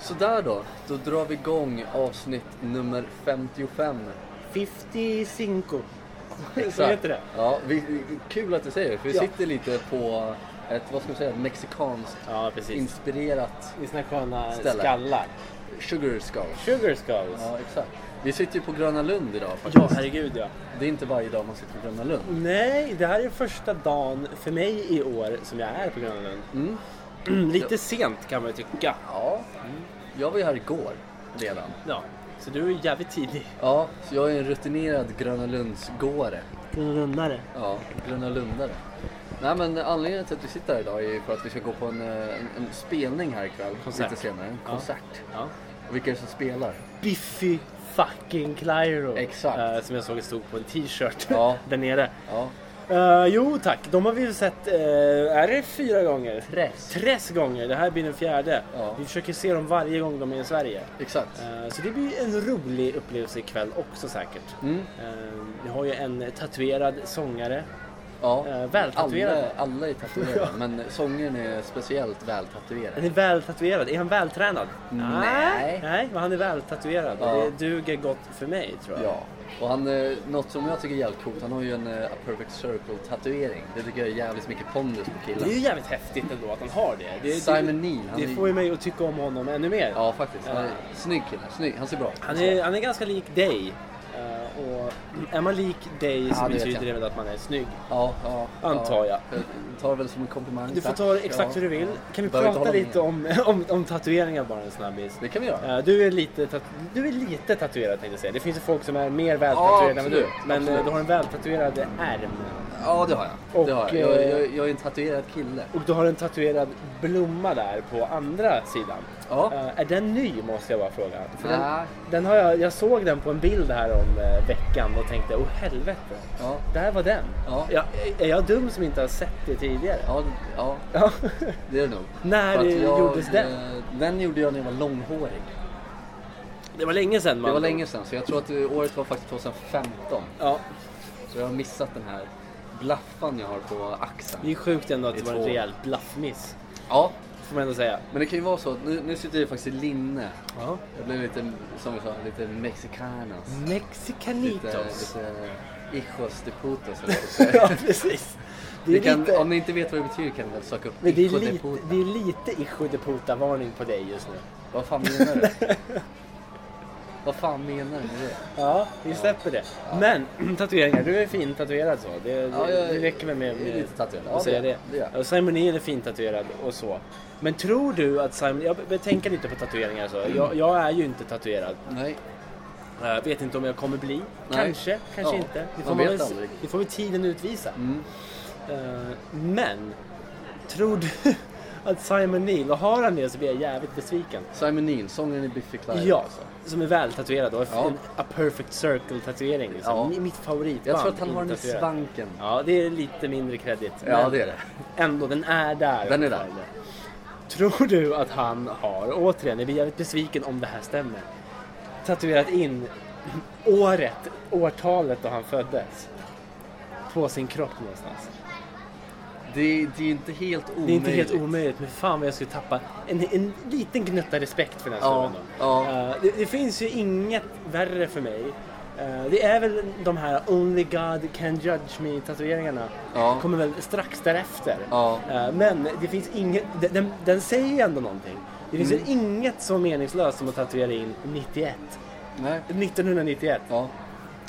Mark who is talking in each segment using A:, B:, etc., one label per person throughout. A: Sådär då, då drar vi igång avsnitt nummer 55.
B: 55. Så heter det.
A: Ja, vi, kul att du säger det, för vi
B: Ja.
A: sitter lite på ett, vad ska man säga, ett mexikanskt
B: Ja, precis.
A: inspirerat
B: I sina sköna
A: Ställe.
B: skallar.
A: sugar skull.
B: Sugar skulls. Ja.
A: Ja, exakt. Vi sitter ju på Gröna Lund idag faktiskt.
B: herregud ja.
A: Det är inte varje dag man sitter på Gröna Lund.
B: Nej, det här är första dagen för mig i år som jag är på Gröna Lund.
A: Mm.
B: Lite sent kan man ju tycka.
A: Ja, jag var ju här igår redan.
B: Ja, så du är ju jävligt tidig.
A: Ja, så jag är en rutinerad Gröna Lundsgåre.
B: Gröna Lundare.
A: Ja, Gröna Lundare. Nej men anledningen till att vi sitter här idag är ju för att vi ska gå på en, eh, en, en spelning här ikväll.
B: Konsert.
A: Lite senare. En
B: Ja.
A: konsert.
B: Ja.
A: Och vilka är det som spelar?
B: Biffy fucking Clyro.
A: Exakt.
B: Eh, som jag såg stod på en t-shirt
A: Ja.
B: där nere.
A: Ja.
B: Eh, jo tack, de har vi ju sett, eh, är det fyra gånger?
A: Press.
B: Tres gånger, det här blir den fjärde.
A: Ja.
B: Vi försöker se dem varje gång de är i Sverige.
A: Exakt.
B: Eh, Så det blir en rolig upplevelse ikväll också säkert.
A: Mm.
B: Eh, Vi har ju en tatuerad sångare.
A: Ja.
B: Eh, vältatuerad.
A: Alla, alla är tatuerade men sången är speciellt
B: Han
A: vältatuerad.
B: är vältatuerad. Är han vältränad?
A: Nej.
B: Nej, men han är vältatuerad.
A: Ja.
B: och Det duger gott för mig tror jag.
A: Ja. Och han, eh, något som jag tycker är jävligt coolt, han har ju en eh, A Perfect Circle tatuering. Det tycker jag är jävligt mycket pondus på
B: Det är ju
A: killen.
B: jävligt häftigt ändå att han har det. det
A: Simon
B: det,
A: Neil, han
B: Det
A: är-
B: får ju mig att tycka om honom ännu mer.
A: Ja faktiskt. Han är,
B: Ja.
A: snygg kille, snygg. Han ser bra ut.
B: Han, är, han är ganska lik dig. Eh, Och är man lik dig så
A: Ja, det vet
B: betyder
A: jag.
B: det väl att man är snygg.
A: Ja, ja.
B: Antar jag.
A: jag. Tar väl som en komplimang.
B: Du får
A: tack.
B: ta det exakt
A: Ja.
B: hur du vill. Kan vi
A: Behöver inte
B: prata
A: hålla
B: lite
A: med.
B: om, om, om tatueringar bara en snabbis?
A: Det kan vi göra.
B: Eh, Du är, lite tatu- du är lite tatuerad tänkte jag säga. Det finns ju folk som är mer
A: Ja,
B: vältatuerade än
A: absolut.
B: du. Men eh,
A: Absolut.
B: du har en vältatuerad ärm.
A: Ja, det har jag.
B: Och,
A: det har jag. Jag,
B: eh,
A: jag, jag är en tatuerad kille.
B: Och du har en tatuerad blomma där på andra sidan.
A: Ja.
B: Eh, Är den ny måste jag bara fråga. För den,
A: Nej.
B: den har jag, jag såg den på en bild här om eh, veckan och tänkte åh helvete.
A: Ja.
B: Där var den.
A: Ja.
B: Jag, är jag dum som inte har sett det tidigare?
A: Ja, ja,
B: Ja.
A: det är det nog.
B: När
A: För att jag,
B: gjordes den?
A: eh, Den gjorde jag när jag var långhårig.
B: Det var länge sedan man.
A: Det var länge sedan, så jag tror att eh, året var faktiskt 2015.
B: Ja,
A: Så jag har missat den här blaffan jag har på
B: Det är
A: axeln.
B: sjukt ändå att
A: Det
B: det
A: är
B: var en
A: två.
B: rejäl bluffmiss.
A: Ja,
B: Får man ändå säga.
A: men det kan ju vara så att nu, nu sitter jag faktiskt i linne.
B: Ja.
A: Jag blev lite, som vi sa, lite mexicanas. Lite,
B: Mexicanitos.
A: lite hijos de putos. eller vad man säger.
B: ja, precis. Det
A: Ni
B: är
A: kan,
B: lite...
A: Om ni inte vet vad det betyder kan ni väl söka upp
B: Men det är
A: Ico de
B: lite,
A: Puta.
B: det är lite Ijo de Puta-varning på dig just nu.
A: Vad fan menar du? vad fan menar du med det?
B: Ja, vi släpper det. Men tatueringar, du är fin tatuerad så. Det,
A: Ja,
B: det,
A: jag-
B: det räcker väl med,
A: jag är
B: med
A: lite tatuerad.
B: att
A: Ja,
B: säga
A: det-
B: det.
A: det är jag.
B: Och Simon Neil är fin tatuerad och så. Men tror du att Simon... Jag börjar tänka lite på tatueringar så. Jag, jag är ju inte tatuerad.
A: Nej.
B: Jag Eh, vet inte om jag kommer bli.
A: Nej.
B: Kanske, kanske
A: Ja,
B: inte. Det
A: man
B: får, man
A: vet
B: väl,
A: aldrig.
B: det får väl tiden utvisa.
A: Mm.
B: Eh, men, tror du att Simon Neil, och har han det så blir jag jävligt besviken.
A: Simon Neil, sången i Biffy Clyro.
B: Ja,
A: alltså.
B: som är vältatuerad och har
A: Ja.
B: en A Perfect Circle tatuering. Liksom.
A: Ja.
B: Mi- Mitt favoritband.
A: Jag tror att han har den i
B: intatuerad.
A: svanken.
B: Ja, det är lite mindre kredit.
A: Ja, det är det.
B: Ändå, den är där.
A: Den är där.
B: Tror du att han har, återigen, jag blir jävligt besviken om det här stämmer, tatuerat in året, årtalet då han föddes på sin kropp någonstans?
A: Det, det är ju inte helt omöjligt.
B: Det är inte helt omöjligt, men fan vad jag skulle tappa en, en liten gnutta respekt för den här
A: Ja,
B: snubben då.
A: ja.
B: Eh, det, det finns ju inget värre för mig. Eh, det är väl de här Only God Can Judge Me tatueringarna.
A: Ja.
B: Kommer väl strax därefter.
A: Ja.
B: Eh, men det finns inget, de- den, den säger ju ändå någonting. Det finns ju inget så meningslöst som att tatuera in 91.
A: Nej.
B: 1991.
A: Ja.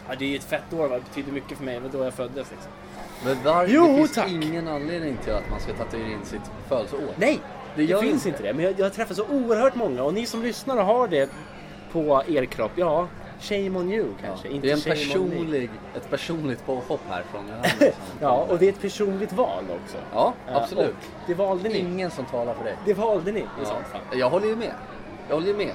B: Ja, det är ju ett fett år, va? det betyder mycket för mig, det var då jag föddes liksom.
A: Men var,
B: Jo,
A: det finns
B: tack.
A: ingen anledning till att man ska tatuera in sitt födelseår.
B: Nej,
A: Det
B: det,
A: gör
B: finns
A: inte.
B: inte det. Men jag, jag träffar så oerhört många och ni som lyssnar och har det på er kropp, ja, shame on you
A: Ja.
B: kanske. Inte
A: Det är en
B: shame on me.
A: personlig, ett personligt påhopp här från Johannes.
B: Ja, och det är ett personligt val också.
A: ja,
B: Eh,
A: absolut.
B: och Det valde ni.
A: Ingen som talar för dig.
B: Det valde ni i sånt fall.
A: Ja, jag håller ju med. Jag håller ju med.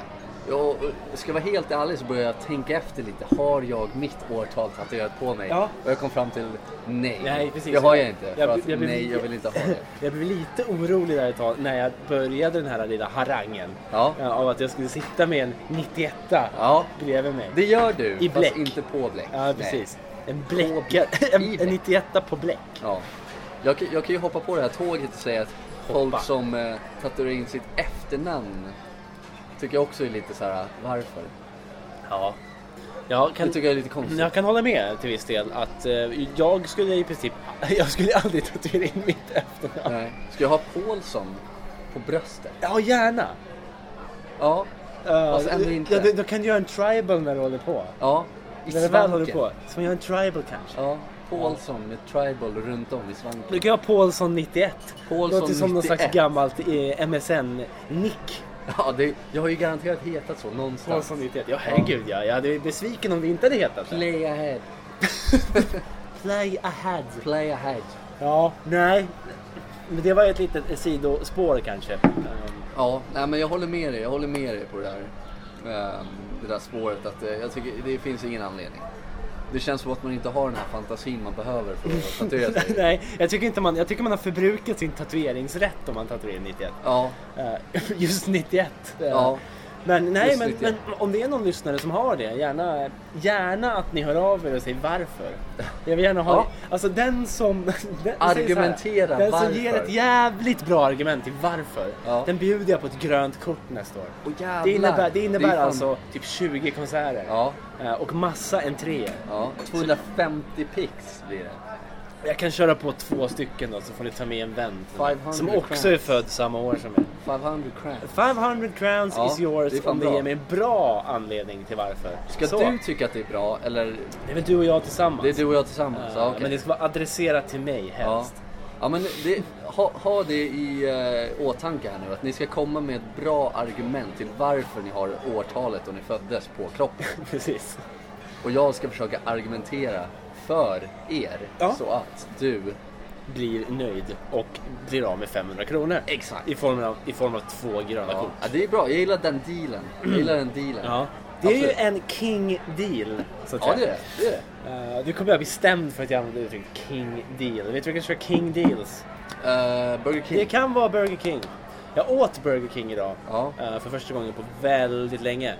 A: Jag, ska jag vara helt ärlig så började jag tänka efter lite. Har jag mitt årtal tatuerat på mig?
B: Ja.
A: Och jag kom fram till nej.
B: Nej, precis.
A: Det har jag inte. För
B: Jag-
A: att,
B: jag blir-
A: nej, jag vill inte ha det.
B: Jag blev lite orolig där ett tag när jag började den här lilla harangen.
A: Ja.
B: eh, Av att jag skulle sitta med en 91
A: Ja,
B: bredvid mig.
A: det gör du.
B: I
A: Fast
B: bläck.
A: inte på bläck.
B: Ja,
A: Nej.
B: precis. En
A: På
B: bläck.
A: bläck.
B: En,
A: I
B: en
A: bläck.
B: 91 på bläck.
A: Ja. Jag, kan- jag kan ju hoppa på det här tåget och säga att folk som eh, tatuerar in sitt efternamn Tycker jag också är lite så här, varför?
B: Ja. Jag
A: Det
B: kan,
A: tycker jag är lite konstigt.
B: Mm, jag kan hålla med till viss del att eh, jag skulle i princip, jag skulle aldrig tatuera in mitt efternamn.
A: Nej. Ska jag ha Paulsson på bröstet?
B: Ja, gärna.
A: Ja.
B: Uh,
A: Fast ändå inte.
B: Ja, du, du kan göra en tribal när du håller på.
A: Ja. I
B: när du väl håller
A: svanken.
B: på. Så man gör en tribal kanske.
A: Ja. Paulsson med tribal runt om i
B: Du
A: svanken.
B: kan ha Paulsson 91.
A: Paulsson
B: Låter som någon slags
A: 91.
B: gammalt eh, MSN-nick.
A: Ja, det, jag har ju garanterat hetat så någonstans.
B: Paulsson 91. Ja, herregud ja. Jag hade blivit besviken om det inte hade hetat det.
A: Play ahead.
B: Play ahead.
A: Play ahead.
B: Ja, nej. Men det var ju ett litet sidospår kanske. Ehm,
A: Ja, nej, men jag håller med dig. Jag håller med dig på det där, ehm, det där spåret. Att, eh, jag tycker det finns ingen anledning. Det känns som att man inte har den här fantasin man behöver för att tatuera sig.
B: nej, jag tycker, inte man, jag tycker man har förbrukat sin tatueringsrätt om man tatuerar 91.
A: Ja,
B: Eh, Just 91. eh,
A: ja,
B: Men, nej,
A: Just
B: men,
A: 91.
B: men om det är någon lyssnare som har det, gärna, gärna att ni hör av er och säger varför. Jag vill gärna ha...
A: Ja.
B: Alltså den som... Den, jag säger så här,
A: Argumentera
B: Den
A: varför.
B: som ger ett jävligt bra argument till varför.
A: Ja.
B: Den bjuder jag på ett grönt kort nästa år.
A: Åh, jävlar.
B: det innebär, det
A: Det är
B: innebär
A: fan-
B: alltså typ 20 konserter.
A: ja,
B: Eh, Och massa entréer.
A: ja. 250 pix blir det.
B: Jag kan köra på två stycken då så får ni ta med en vän. till mig,
A: 500
B: Som också är
A: crowns.
B: född samma år som jag.
A: 500 crowns.
B: 500 crowns
A: Ja,
B: is
A: det är
B: yours
A: fan
B: om det
A: bra.
B: ger mig en bra anledning till varför.
A: Ska
B: Så.
A: du tycka att det är bra eller
B: Det är väl du och jag tillsammans?
A: det är du och jag tillsammans?
B: Eh,
A: Ja, okej.
B: Men det ska vara adresserat till mig
A: Ja.
B: helst.
A: Ja, men det, ha, ha det i eh, åtanke här nu, att ni ska komma med ett bra argument till varför ni har årtalet och ni föddes på kroppen.
B: Precis.
A: Och jag ska försöka argumentera för er,
B: Ja.
A: så att du...
B: Blir nöjd och blir av med 500 kronor.
A: Exakt.
B: I form av, i form av två gröna
A: Ja.
B: kort.
A: ja, det är bra. Jag gillar den dealen. Jag gillar den dealen.
B: Ja. Det är ju
A: Absolut.
B: en king deal. Så att
A: Ja, det är
B: säga.
A: det. det, är det.
B: Eh, nu kommer jag bli stämd för att jag använde uttrycket king deal. Vet du vilka som kör king deals?
A: Eh, Burger King.
B: Det kan vara Burger King. Jag åt Burger King idag.
A: Ja.
B: eh, För första gången på väldigt länge.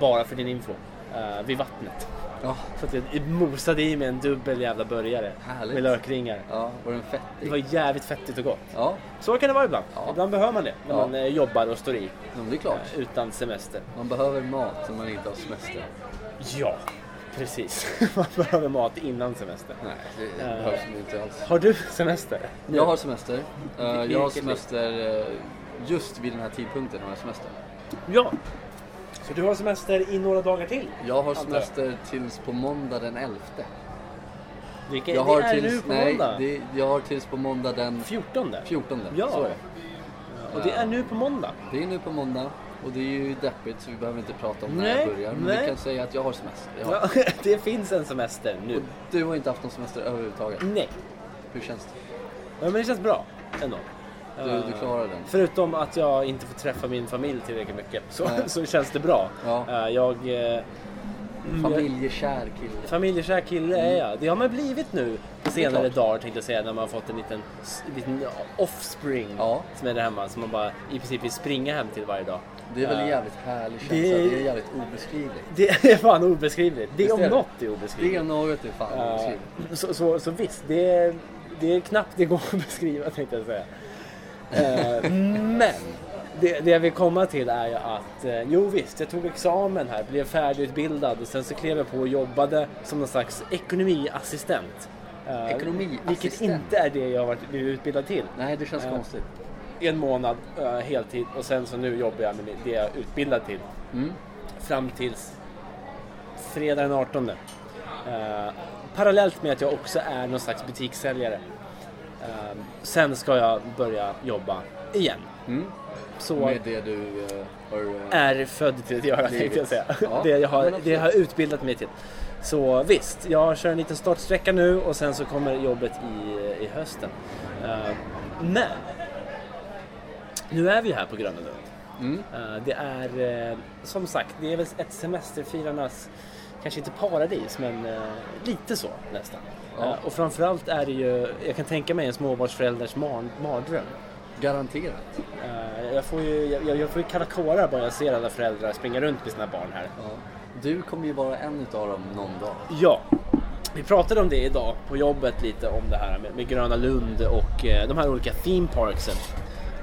B: Bara för din info. eh, Vid vattnet.
A: Ja.
B: Så att jag mosade i mig en dubbel jävla burgare.
A: Härligt.
B: Med lökringar.
A: ja, var den
B: Det
A: fettig?
B: var jävligt fettigt och gott.
A: Ja,
B: Så kan det vara ibland.
A: Ja.
B: Ibland behöver man det. När
A: Ja.
B: man eh, jobbar och står i.
A: ja, men det är klart.
B: eh, Utan semester.
A: Man behöver mat om man inte har semester.
B: Ja, precis. man behöver mat innan semester.
A: Nej, det behövs inte alls.
B: Har du semester?
A: Jag har semester. Eh,
B: Vilket
A: jag har
B: liv?
A: semester eh, just vid den här tidpunkten har jag semester.
B: Ja. Så du har semester i några dagar till?
A: Jag har
B: jag.
A: semester tills på måndag den 11.
B: Vilka,
A: Jag har
B: det är nu
A: tills,
B: på
A: nej,
B: måndag.
A: det, jag har tills på måndag den
B: 14.
A: 14.
B: Ja.
A: Så är det.
B: Och det är nu på måndag.
A: det är nu på måndag och det är ju deppigt så vi behöver inte prata om när
B: Nej,
A: jag börjar. Men vi
B: nej.
A: kan säga att jag har semester. Jag har.
B: Ja, det finns en semester nu.
A: Och du har inte haft någon semester överhuvudtaget.
B: Nej,
A: Hur känns det?
B: ja, men det känns bra ändå.
A: Du, du klarar den.
B: Eh, Förutom att jag inte får träffa min familj tillräckligt mycket så,
A: Nej.
B: så känns det bra.
A: Ja.
B: Eh, Jag, eh, mm,
A: Familjekär kille.
B: jag- Familjekär kille
A: Mm.
B: är jag. Det har man blivit nu på senare dagar tänkte jag säga när man har fått en liten, s- liten ja, offspring
A: Ja.
B: som är där hemma som man bara i princip vill springa hem till varje dag.
A: Det är väl en
B: Eh,
A: jävligt härlig
B: det-
A: känsla. Det är jävligt obeskrivligt.
B: Det är fan obeskrivligt. Det
A: Visst
B: om
A: är det?
B: något är
A: Det
B: obeskrivligt.
A: är något i fan
B: Eh,
A: obeskrivligt.
B: så, så, så visst, det är, det är knappt det går att beskriva tänkte jag säga. Eh, men det, det jag vill komma till är ju att eh, jo visst, jag tog examen här, blev färdigutbildad och sen så klev jag på och jobbade som någon slags ekonomiassistent. Eh,
A: Ekonomiassistent?
B: Vilket inte är det jag har varit- blivit utbildad till.
A: Nej, det känns
B: Eh,
A: konstigt.
B: En månad eh, heltid och sen så nu jobbar jag med det jag är utbildad till
A: Mm.
B: fram tills fredag den 18. Eh, parallellt med att jag också är någon slags butikssäljare. Eh, sen ska jag börja jobba igen.
A: Mm.
B: Så
A: Med det du eh, har... eh,
B: är född till att göra tänkte jag säga.
A: Ja,
B: det, jag har,
A: men absolut.
B: det jag har utbildat mig till. Så visst, jag kör en liten startsträcka nu och sen så kommer jobbet i, i hösten. Eh, men! Nu är vi här på Gröna Lund.
A: Mm.
B: Eh, Det är eh, som sagt, det är väl ett semesterfirarnas, kanske inte paradis, men eh, lite så nästan.
A: Ja.
B: Eh, Och framförallt är det ju, jag kan tänka mig en småbarnsförälders mar- mardröm.
A: Garanterat.
B: Eh, Jag får ju, jag, jag får ju kalla kårar bara jag ser alla föräldrar springa runt med sina barn här.
A: Ja. Du kommer ju vara en utav dem någon dag.
B: Ja, vi pratade om det idag på jobbet lite om det här med, med Gröna Lund och eh, de här olika theme parksen.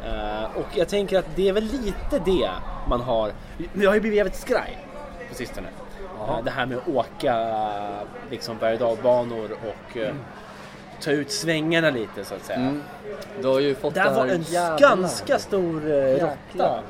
B: Eh, och jag tänker att det är väl lite det man har. Jag har ju blivit jävligt skraj på sistone.
A: Jaha.
B: Eh, det här med att åka liksom berg och dalbanor och eh, ta ut svängarna lite så att säga.
A: Mm. Du har ju fått det
B: Där
A: här
B: var en
A: jävla-
B: ganska stor eh, råtta.
A: Jäklar.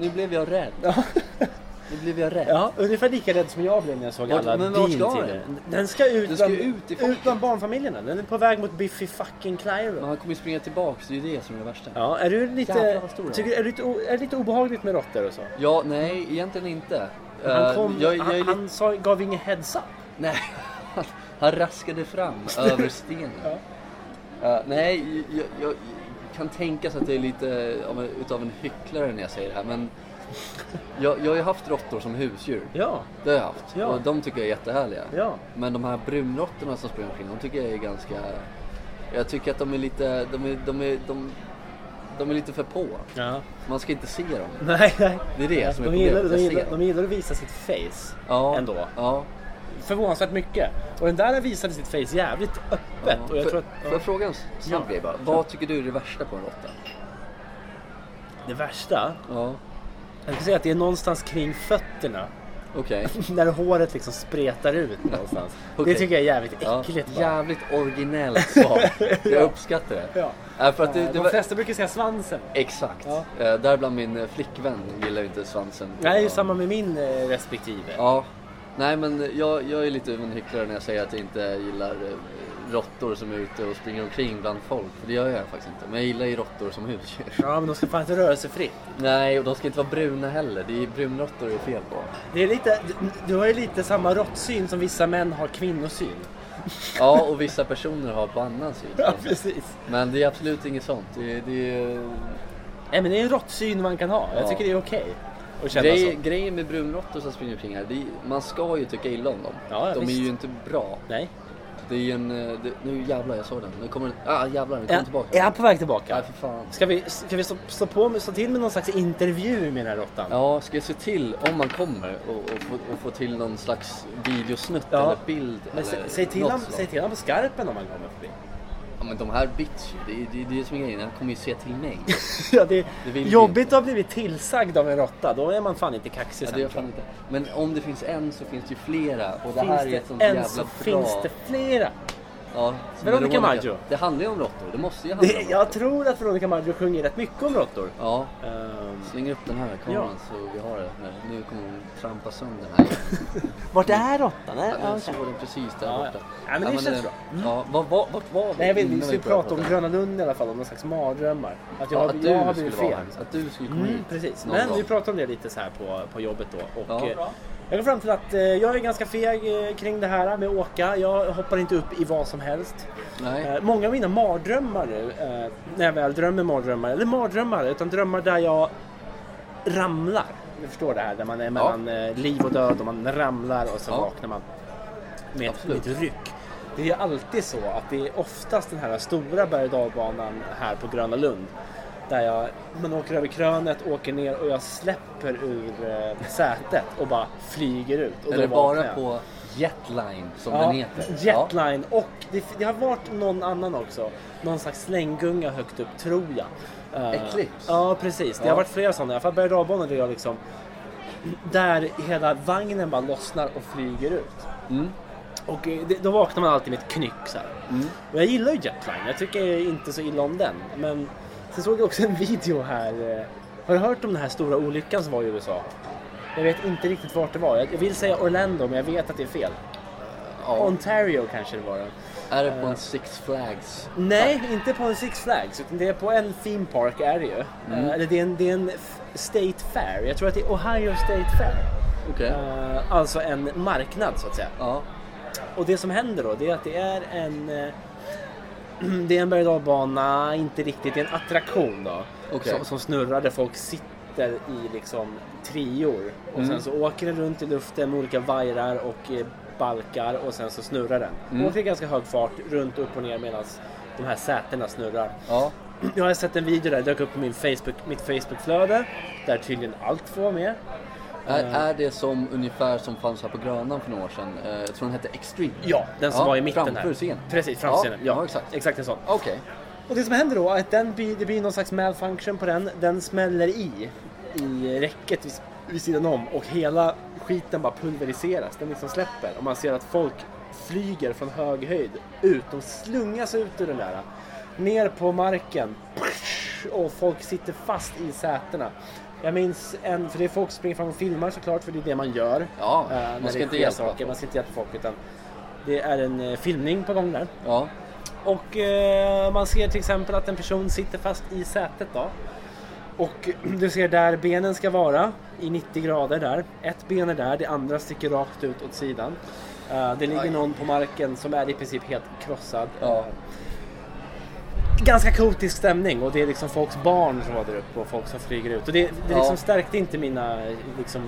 A: Nu blev jag rädd.
B: Ja.
A: Nu blev jag rädd.
B: Ja, ungefär lika rädd som jag blev när jag såg
A: Vart-
B: alla
A: men vart
B: din
A: ska
B: tidigare. Den ska ut,
A: Den ska
B: bland,
A: ut i folket.
B: ut bland barnfamiljerna. Den är på väg mot Biffy fucking Clyro.
A: Men han kommer ju springa tillbaks, det är ju det som är det värsta.
B: Ja, är du
A: Jävlar,
B: lite,
A: vad stor den
B: tycker,
A: var.
B: är, du lite, o- är det lite obehagligt med råttor och så?
A: Ja, nej, egentligen inte.
B: Han,
A: Eh,
B: kom,
A: jag, jag är
B: han,
A: lite...
B: han sa, gav ingen heads up.
A: Nej, han, han raskade fram över stenen.
B: Ja.
A: Eh, nej, jag, jag kan tänka sig att det är lite av en- utav en hycklare när jag säger det här, men jag, jag har ju haft råttor som husdjur.
B: Ja,
A: Det har jag haft.
B: Ja.
A: Och de tycker jag är jättehärliga.
B: ja.
A: Men de här brunråttorna som springer omkring, de tycker jag är ganska... Jag tycker att de är lite... De är, de är, de, de är lite för på.
B: ja.
A: Man ska inte se dem.
B: Nej, nej.
A: Det är det som är
B: de, gillar,
A: problemet.
B: de,
A: Jag
B: gillar,
A: ser
B: de
A: dem.
B: gillar att visa sitt face.
A: Ja.
B: ändå.
A: Ja.
B: Förvånansvärt mycket. Och den där visade sitt face jävligt öppet.
A: Ja.
B: Och jag
A: Får-
B: tror att,
A: Får jag fråga en snabb
B: Ja.
A: grej bara? Vad tycker du är det värsta på en råtta?
B: Det värsta,
A: Ja,
B: jag skulle säga att det är någonstans kring fötterna.
A: okej.
B: När håret liksom spretar ut någonstans.
A: Okej.
B: Det tycker jag är jävligt
A: Ja.
B: äckligt. bara.
A: Jävligt originellt svar. Jag uppskattar det.
B: Ja.
A: Äh, för att det, det
B: De
A: var...
B: flesta brukar säga svansen.
A: Exakt.
B: Ja.
A: Eh, Däribland min eh, flickvän gillar ju inte svansen. på-
B: Nej, det är ju samma med min eh, respektive.
A: Ja. Nej men jag, jag är lite av en hycklare när jag säger att jag inte gillar eh, råttor som är ute och springer omkring bland folk. För det gör jag faktiskt inte. Men jag gillar ju råttor som husdjur.
B: Ja, men de ska fan inte röra sig fritt.
A: Nej, och de ska inte vara bruna heller. Det är brunråttor det är fel på.
B: Det är lite, du, du har ju lite samma råttsyn som vissa män har kvinnosyn.
A: Ja, och vissa personer har på annan sida.
B: precis.
A: Men det är absolut inget sånt. Det, det,
B: Nej, men det är en råttsyn man kan ha. Jag
A: Ja.
B: tycker det är okej att känna
A: grej,
B: så.
A: grejen med brunråttor som springer omkring här, det är, man ska ju tycka illa om dem.
B: Ja, ja,
A: de
B: visst.
A: är ju inte bra.
B: Nej.
A: Det är ju en... eh, Det, nu jävlar, jag såg den. Nu kommer den. Ah, jävlar, den
B: Är,
A: kommer tillbaka.
B: är han på väg
A: Nej,
B: tillbaka?
A: för fan.
B: Ska vi, ska vi stå, stå, på med, stå till med någon slags intervju med den här råttan?
A: Ja, ska jag se till, om man kommer, och, och, få, och få till någon slags videosnutt
B: Ja.
A: eller bild
B: Men sä,
A: eller
B: säg, till
A: något
B: han,
A: sånt.
B: säg till han på skarpen om han kommer förbi.
A: Ja, men de här bits ju. Det, är- det, är det som är grejen. Han kommer ju se till mig.
B: ja, det är
A: Det vill vi
B: jobbigt att ha blivit tillsagd av en råtta. Då är man fan inte kaxig
A: Ja,
B: sen.
A: det gör fan inte. Men om det finns en så finns det ju flera. Och det
B: Finns
A: här är ett
B: det
A: sånt
B: en
A: jävla
B: så
A: bra...
B: finns det flera.
A: Ja, som
B: Veronica
A: Veronica.
B: Maggio.
A: Det handlar ju om råttor. Det måste ju handla
B: Det,
A: om
B: jag
A: råttor.
B: tror att Veronica Maggio sjunger rätt mycket om råttor.
A: Ja,
B: Ehm,
A: släng upp den här kameran
B: Ja.
A: så vi har det. Nej, Nu kommer hon trampa sönder den här.
B: Vart är råttan? Är-
A: Ja,
B: okej.
A: nu såg den precis där
B: Ja,
A: borta.
B: ja. Ja, men det känns
A: eh,
B: bra. Mm.
A: Ja, vad- vad- vart var vi?
B: Nej, jag vet, vi
A: innan
B: skulle
A: började
B: prata om
A: prata?
B: Gröna Lund i alla fall, om någon slags mardrömmar. Att jag,
A: Ja,
B: har-
A: att du
B: jag har
A: skulle
B: blivit
A: vara
B: fel.
A: här. Att du skulle komma
B: Mm,
A: hit.
B: precis.
A: någon
B: Men
A: gång.
B: vi pratade om det lite så här på, på jobbet då. Och,
A: Ja.
B: eh, Jag kom fram till att eh, jag är ganska feg eh, kring det här med att åka. Jag hoppar inte upp i vad som helst.
A: Nej.
B: Eh, många av mina mardrömmar nu, eh, när jag väl drömmer mardrömmar, eller mardrömmar, utan drömmar där jag ramlar. Du förstår det här, där man är mellan eh, liv och död och man ramlar och så
A: Ja.
B: vaknar man med ett, med
A: Absolut.
B: ett ryck. Det är alltid så att det är oftast den här stora berg och dalbanan här på Gröna Lund. Där jag, man åker över krönet, åker ner och jag släpper ur eh, sätet och bara flyger ut. Och
A: Eller
B: då
A: bara
B: vaknar jag.
A: på Jetline som
B: Ja,
A: den heter.
B: Jetline och det, det har varit någon annan också. Någon slags slänggunga högt upp tror jag. Eh,
A: Eclipse.
B: Ja precis, det
A: Ja.
B: har varit flera sådana. I alla fall berg och dalbanor där jag liksom där hela vagnen bara lossnar och flyger ut.
A: Ja. Mm.
B: Och eh, det, då vaknar man alltid med ett knyck så här.
A: Mm.
B: Och jag gillar ju Jetline, jag tycker inte så illa om den. Men sen såg jag också en video här. eh, Har du hört om den här stora olyckan som var i USA? Jag vet inte riktigt vart det var. Jag jag vill säga Orlando men jag vet att det är fel.
A: Ja.
B: Ontario kanske det var då.
A: Är det på en Six Flags?
B: Nej, inte på en Six Flags, utan det är på en theme park är det ju. Eh, Eller det är en, det är en f- State Fair, jag tror att det är Ohio State Fair.
A: Okej.
B: Eh, alltså en marknad så att säga.
A: Ja.
B: Och det som händer då, det är att det är en... eh, Det är en berg och dalbana, inte riktigt, det är en attraktion då.
A: Okej.
B: Som, som snurrar där folk sitter i liksom trior. Och
A: Mm.
B: sen så åker den runt i luften med olika vajrar och eh, balkar och sen så snurrar den.
A: Mm.
B: Åker i ganska hög fart runt upp och ner medan de här sätena snurrar.
A: Ja.
B: Jag har sett en video där, det dök upp på min Facebook, mitt Facebookflöde. Där tydligen allt får vara med.
A: Är,
B: Äh.
A: är det som ungefär som fanns här på Grönan för några år sedan? Eh, Jag tror den hette Extreme.
B: Ja, den som
A: Ja,
B: var i mitten
A: framför
B: här.
A: scenen.
B: Precis, framför
A: Ja,
B: scenen. Ja,
A: ja, exakt.
B: exakt en sån.
A: Okej.
B: Och det som händer då är att den blir, det blir någon slags malfunction på den. Den smäller i, i räcket vid, vid sidan om och hela skiten bara pulveriseras. Den liksom släpper och man ser att folk flyger från hög höjd ut. De slungas ut ur den där. Ner på marken. Och folk sitter fast i sätena. Jag minns en, för det är folk som springer fram och filmar såklart, för det är det man gör.
A: Ja,
B: eh,
A: man
B: när
A: ska
B: det
A: inte
B: sker
A: hjälpa
B: saker.
A: folk.
B: Man ska inte hjälpa folk utan det är en eh, filmning på gång där.
A: Ja.
B: Och eh, man ser till exempel att en person sitter fast i sätet då. Och du ser där benen ska vara i 90 grader där. Ett ben är där, det andra sticker rakt ut åt sidan. Eh, det ligger
A: Aj.
B: någon på marken som är i princip helt krossad.
A: Ja.
B: Ganska kaotisk stämning och det är liksom folks barn som var där uppe och folk som flyger ut. Och det, det
A: Ja.
B: liksom stärkte inte mina eh, liksom,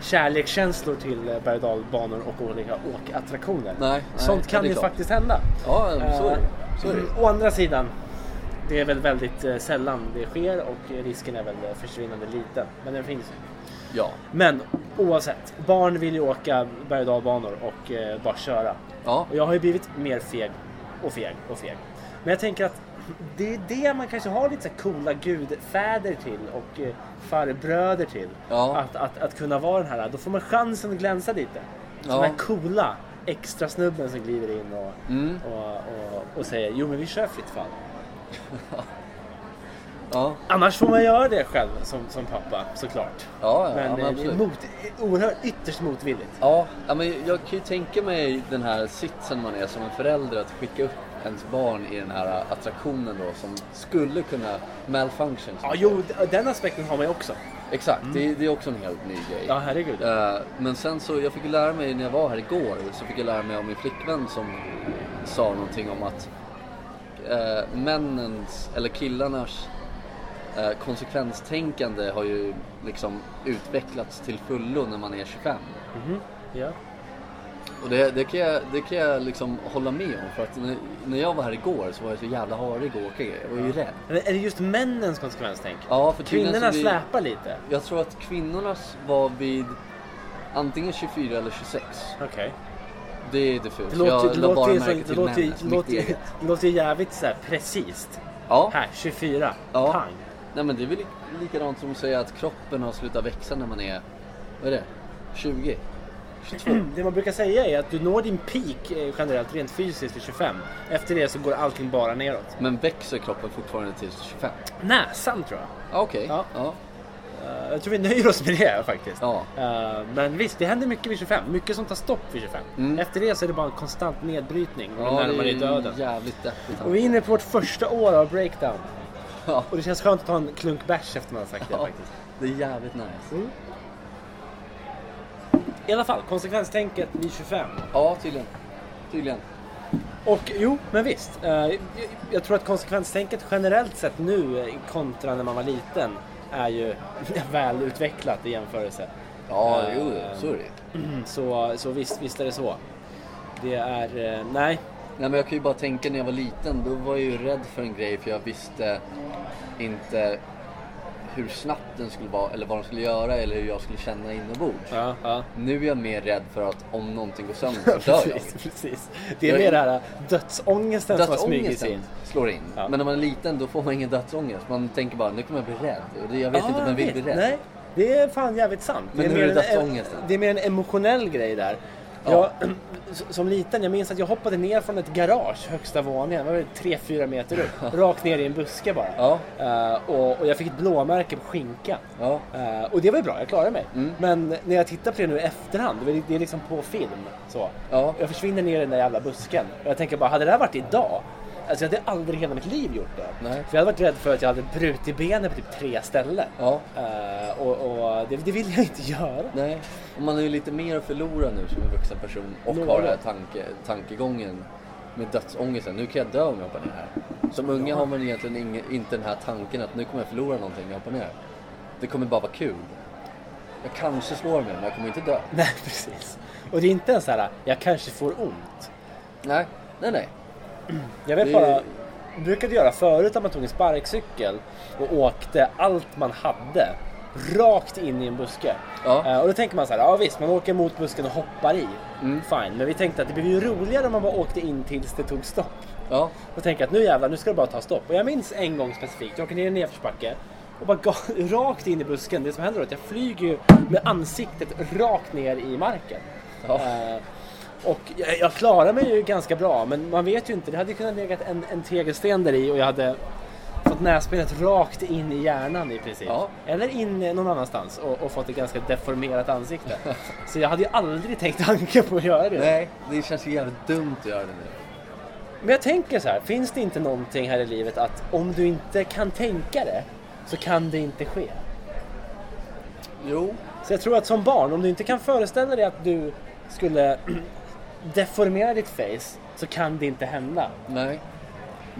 B: kärlekskänslor till eh, berg och dalbanor och olika åkattraktioner.
A: nej,
B: Sånt
A: ja,
B: kan
A: det är
B: ju
A: klart.
B: faktiskt hända.
A: Ja, så är det. Så är det.
B: Eh, Å andra sidan, det är väl väldigt eh, sällan det sker och eh, risken är väl eh, försvinnande liten. Men den finns ju.
A: Ja.
B: Men oavsett, barn vill ju åka berg och dalbanor och eh, bara köra.
A: Ja.
B: Och jag har ju blivit mer feg och feg och feg. Men jag tänker att det är det man kanske har lite så här coola gudfäder till och eh, farbröder till.
A: Ja.
B: Att, att, att kunna vara den här, då får man chansen att glänsa lite.
A: Ja.
B: Den här coola extra snubben som glider in och,
A: Mm.
B: och, och, och säger jo men vi kör fritt fall.
A: Ja.
B: Annars får man göra det själv som, som pappa såklart.
A: Ja, ja,
B: men
A: ja, men
B: eh,
A: absolut.
B: mot, oerhört, ytterst motvilligt.
A: Ja, ja, men jag kan ju tänka mig den här sitsen man är som en förälder att skicka upp ens barn i den här attraktionen då som skulle kunna malfunction. som
B: Ja,
A: man
B: Mm. jo,
A: säger.
B: d- den aspekten har man ju också.
A: Exakt, det, det är också en helt ny grej.
B: Ja, herregud.
A: Eh, Men sen så, jag fick ju lära mig när jag var här igår, så fick jag lära mig av min flickvän som sa någonting om att eh, männens, eller killarnas eh, konsekvenstänkande har ju liksom utvecklats till fullo när man är 25.
B: Mhm. Ja.
A: Och det, det, kan jag, det kan jag liksom hålla med om för att när, när jag var här igår så var jag så jävla harig och åkig. Jag var ju rädd.
B: Men är det just männens konsekvenstänk?
A: Ja, för tydligen
B: Kvinnorna
A: så blir-
B: släpar lite.
A: Jag tror att kvinnornas var vid antingen 24 eller 26.
B: Okej.
A: Det är diffust.
B: Det låter,
A: jag
B: det
A: la bara
B: låter, ju så-
A: märke
B: det
A: till
B: låter, ju-
A: männens,
B: det
A: mitt
B: låter, ju-
A: eget.
B: det låter ju jävligt så här precis.
A: Ja,
B: Här, 24.
A: Ja.
B: Pang.
A: nej men det är väl li- likadant som att säga att kroppen har slutat växa när man är, vad är det, 20? 22?
B: Det man brukar säga är att du når din peak eh, generellt rent fysiskt vid 25. Efter det så går allting bara neråt.
A: Men växer kroppen fortfarande till 25?
B: Näsan tror jag.
A: Ah, Okej,
B: Ja.
A: ja.
B: Eh, Jag tror vi nöjer oss med det faktiskt.
A: Ja.
B: Eh, Men visst, det händer mycket vid 25. Mycket som tar stopp vid 25.
A: Mm.
B: Efter det så är det bara en konstant nedbrytning. Och
A: Ja,
B: ja, närmar
A: det
B: dig döden.
A: är jävligt deppigt.
B: Och vi är inne på vårt första år av breakdown.
A: Ja.
B: Och det känns skönt att ta en klunk bärs efter man har sagt det
A: Ja,
B: faktiskt.
A: det är jävligt nice.
B: I alla fall, konsekvenstänket vid 25.
A: Ja, tydligen. Tydligen.
B: Och jo, men visst. eh, jag- Jag tror att konsekvenstänket generellt sett nu eh, kontra när man var liten är ju väl utvecklat i jämförelse.
A: Ja,
B: Eh,
A: jo, så är det
B: Mm. Så, så visst, visst är det så. Det är, eh, nej,
A: Nej, men jag kan ju bara tänka när jag var liten, då var jag ju rädd för en grej för jag visste inte hur snabbt den skulle vara eller vad den skulle göra eller hur jag skulle känna inombords.
B: Ja, ja.
A: Nu är jag mer rädd för att om någonting går sönder så dör jag.
B: precis, precis. Det är
A: Jag är-
B: mer det här eh, dödsångesten som har smugit sig in.
A: Dödsångesten slår in.
B: Ja.
A: Men när man är liten då får man ingen dödsångest. Man tänker bara, nu kommer jag bli rädd. Och det, jag vet
B: Ja,
A: inte om jag vill bli
B: vet.
A: rädd.
B: Nej, det är fan jävligt sant.
A: Men
B: det,
A: hur är
B: mer en,
A: dödsångesten?
B: det är mer en emotionell grej där.
A: Ja.
B: Jag, som liten, jag minns att jag hoppade ner från ett garage, högsta våningen, det var väl 3-4 meter upp, rakt ner i en buske bara.
A: Ja.
B: Eh, och, och jag fick ett blåmärke på skinkan.
A: Ja.
B: Eh, och det var ju bra, jag klarade mig.
A: Mm.
B: Men när jag tittar på det nu i efterhand, det är- det är liksom på film. Så.
A: Ja.
B: Jag försvinner ner i den där jävla busken. Och jag tänker bara, hade det här varit idag? Alltså jag hade aldrig i hela mitt liv gjort det.
A: Nej.
B: För jag hade varit rädd för att jag hade brutit benet på typ tre ställen.
A: Ja.
B: Eh, och och det, det vill jag inte göra.
A: Nej, och man har ju lite mer att förlora nu som en vuxen person och
B: Något.
A: har den här tanke, tankegången med dödsångesten. Nu kan jag dö om jag hoppar ner här. Som unga har man egentligen ingen, inte den här tanken att nu kommer jag förlora någonting om jag hoppar ner. Det kommer bara vara kul. Jag kanske slår mig men jag kommer inte dö.
B: Nej, precis. Och det är inte ens så här, jag kanske får ont.
A: Nej, nej, nej.
B: Jag vet
A: Det-
B: bara, jag brukade göra förut att man tog en sparkcykel och åkte allt man hade rakt in i en buske.
A: Ja.
B: Eh, och då tänker man så här, ja visst man åker mot busken och hoppar i.
A: Mm.
B: Fine, men vi tänkte att det blev ju roligare om man bara åkte in tills det tog stopp.
A: Ja,
B: Och tänkte att nu jävlar, nu ska det bara ta stopp. Och jag minns en gång specifikt, jag åker ner i en nedförsbacke och bara ga- rakt in i busken. Det som händer då är att jag flyger ju med ansiktet rakt ner i marken.
A: Ja.
B: Eh, och jag, jag klarar mig ju ganska bra, men man vet ju inte. Det hade ju kunnat legat en, en tegelsten där i och jag hade fått nässpelet rakt in i hjärnan i princip.
A: Ja.
B: Eller in någon annanstans och, och fått ett ganska deformerat ansikte. Så jag hade ju aldrig tänkt tanken på att göra det.
A: nej, det känns ju jävligt dumt att göra det nu.
B: Men jag tänker så här, finns det inte någonting här i livet att om du inte kan tänka det så kan det inte ske?
A: Jo,
B: Så jag tror att som barn, om du inte kan föreställa dig att du skulle deformera ditt face så kan det inte hända.
A: nej.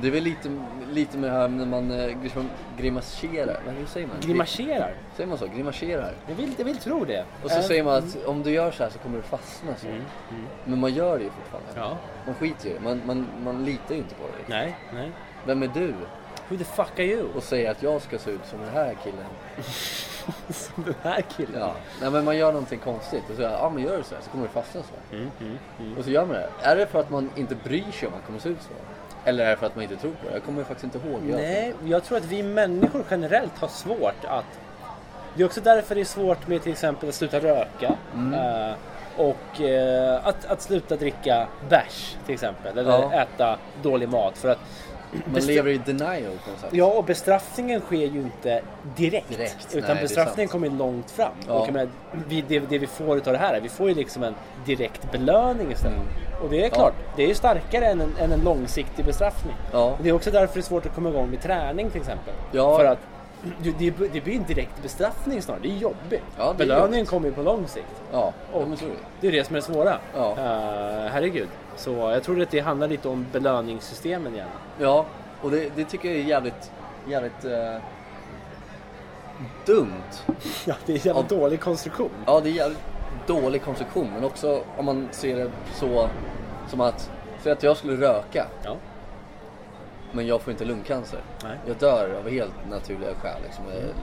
A: Det är väl lite, lite med det här när man eh, gris- grimaserar. Men hur säger man?
B: Grimaserar.
A: Gri- Säger man så? Grimaserar.
B: Jag vill, jag vill tro det.
A: Och så
B: Eh,
A: säger Mm, man att om du gör så här så kommer du fastna. Så. Men man gör det ju fortfarande.
B: Mm. Ja.
A: Man skiter ju i det. man, man, man litar ju inte på det.
B: Nej, nej.
A: Vem är du
B: Who the fuck are you?
A: och säger att jag ska se ut som den här killen?
B: Som den här killen.
A: Ja. Nej men man gör någonting konstigt och så ja ah, men gör du så här så kommer du fastna så
B: Mm.
A: här. Och så gör man det. Är det för att man inte bryr sig om att kommer se ut så? Eller är det för att man inte tror på det? Jag kommer faktiskt inte ihåg. Jag-
B: Nej, jag tror att vi människor generellt har svårt att... Det är också därför det är svårt med till exempel att sluta röka.
A: Mm.
B: eh, och eh, att, att sluta dricka bärs till exempel. Eller
A: Ja.
B: äta dålig mat. För att
A: Man lever i denial på något sätt.
B: Ja, och bestraffningen sker ju inte direkt.
A: Direkt, nej,
B: utan
A: det är
B: bestraffningen
A: sant.
B: kommer ju långt fram.
A: Ja.
B: Och jag menar, vi, det, det vi får utav det här, är- vi får ju liksom en direkt belöning istället.
A: Mm.
B: Och det är klart, det är ju starkare än en, än en långsiktig bestraffning.
A: Ja.
B: Och Det är också därför det är svårt att komma igång med träning till exempel.
A: Ja.
B: För att det, det, det blir ju en direkt bestraffning snarare, det är jobbigt.
A: Ja, det är
B: Belöningen
A: jobbigt.
B: kommer ju på lång sikt.
A: Ja,
B: Och
A: ja men så är det.
B: det är det som är det svåra.
A: Ja.
B: Eh, herregud. Så jag tror att det handlar lite om belöningssystemen igen.
A: Ja, och det, det tycker jag är jävligt, jävligt eh, dumt.
B: Ja, det är en jävla
A: Ja.
B: dålig konstruktion.
A: Ja, det är jävligt dålig konstruktion, men också om man ser det så som att, säg att jag skulle röka,
B: Ja.
A: men jag får inte lungcancer.
B: Nej.
A: Jag dör av helt naturliga skäl. Liksom. Eh,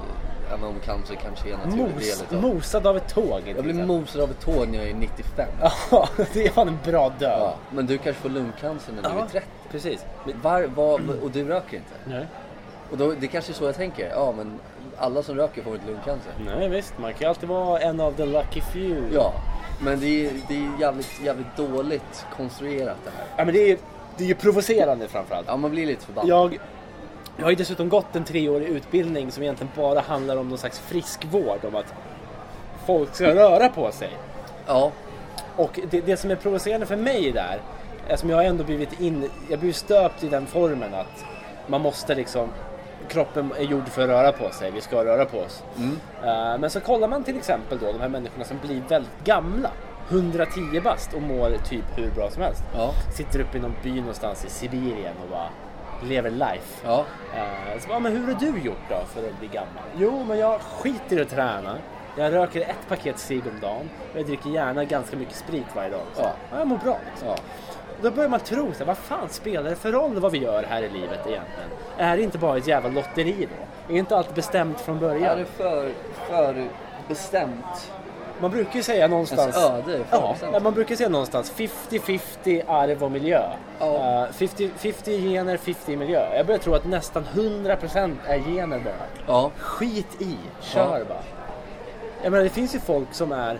A: Även om cancer kanske är en naturlig del
B: Mos,
A: utav-
B: mosad av ett tåg. till
A: Jag blir
B: exempel.
A: mosad av ett tåg när jag är 95.
B: Ja, det är fan en bra död.
A: Ja, men du kanske får lungcancer när du är 30.
B: precis.
A: Men Var, var, och du röker inte.
B: Nej.
A: Och då, det kanske är så jag tänker. Ja, men alla som röker får inte lungcancer.
B: Nej, visst. Man kan ju alltid vara en av the lucky few.
A: Ja, men det är, det är jävligt, jävligt dåligt konstruerat det här.
B: Ja, men det är ju det är ju provocerande framförallt.
A: Ja, man blir lite förbannad.
B: Jag, jag har ju dessutom gått en treårig utbildning som egentligen bara handlar om någon slags friskvård. Om att folk ska röra på sig.
A: Ja,
B: Och det, det som är provocerande för mig där, är som jag har ändå blivit in, jag blir stöpt i den formen att man måste liksom, kroppen är gjord för att röra på sig, vi ska röra på oss. Eh, men så kollar man till exempel då de här människorna som blir väldigt gamla, 110 bast och mår typ hur bra som helst.
A: Ja.
B: Sitter uppe i någon by någonstans i Sibirien och bara lever life.
A: ja,
B: Eh, Så, bara, men hur har du gjort då för att bli gammal? Jo, men jag skiter i att träna. Jag röker ett paket cigg om dagen och jag dricker gärna ganska mycket sprit varje dag. Så,
A: Ja.
B: ja. Jag mår bra liksom.
A: ja.
B: Och Då börjar man tro, så här, vad fan spelar det för roll vad vi gör här i livet egentligen? Är det inte bara ett jävla lotteri då? Är inte allt bestämt från
A: Är
B: början?
A: det för, för bestämt?
B: Man brukar ju säga
A: Ens
B: någonstans...
A: öde är
B: ja,
A: förutsatt.
B: nej, man brukar säga någonstans 50-50 arv och miljö.
A: Ja.
B: Eh, 50, 50 gener, 50 miljö. Jag börjar tro att nästan 100% är gener bara.
A: Ja,
B: Skit i, kör
A: Ja.
B: bara. Jag menar det finns ju folk som är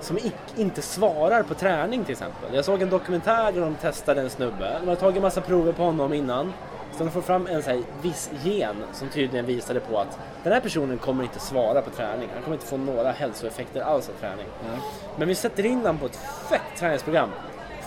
B: som ic- inte svarar på träning till exempel. Jag såg en dokumentär där de testade en snubbe. De hade tagit massa prover på honom innan. Så de får fram en så här, viss gen som tydligen visade på att den här personen kommer inte svara på träning. Han kommer inte få några hälsoeffekter alls av träning.
A: Nej.
B: Men vi sätter in honom på ett fett träningsprogram.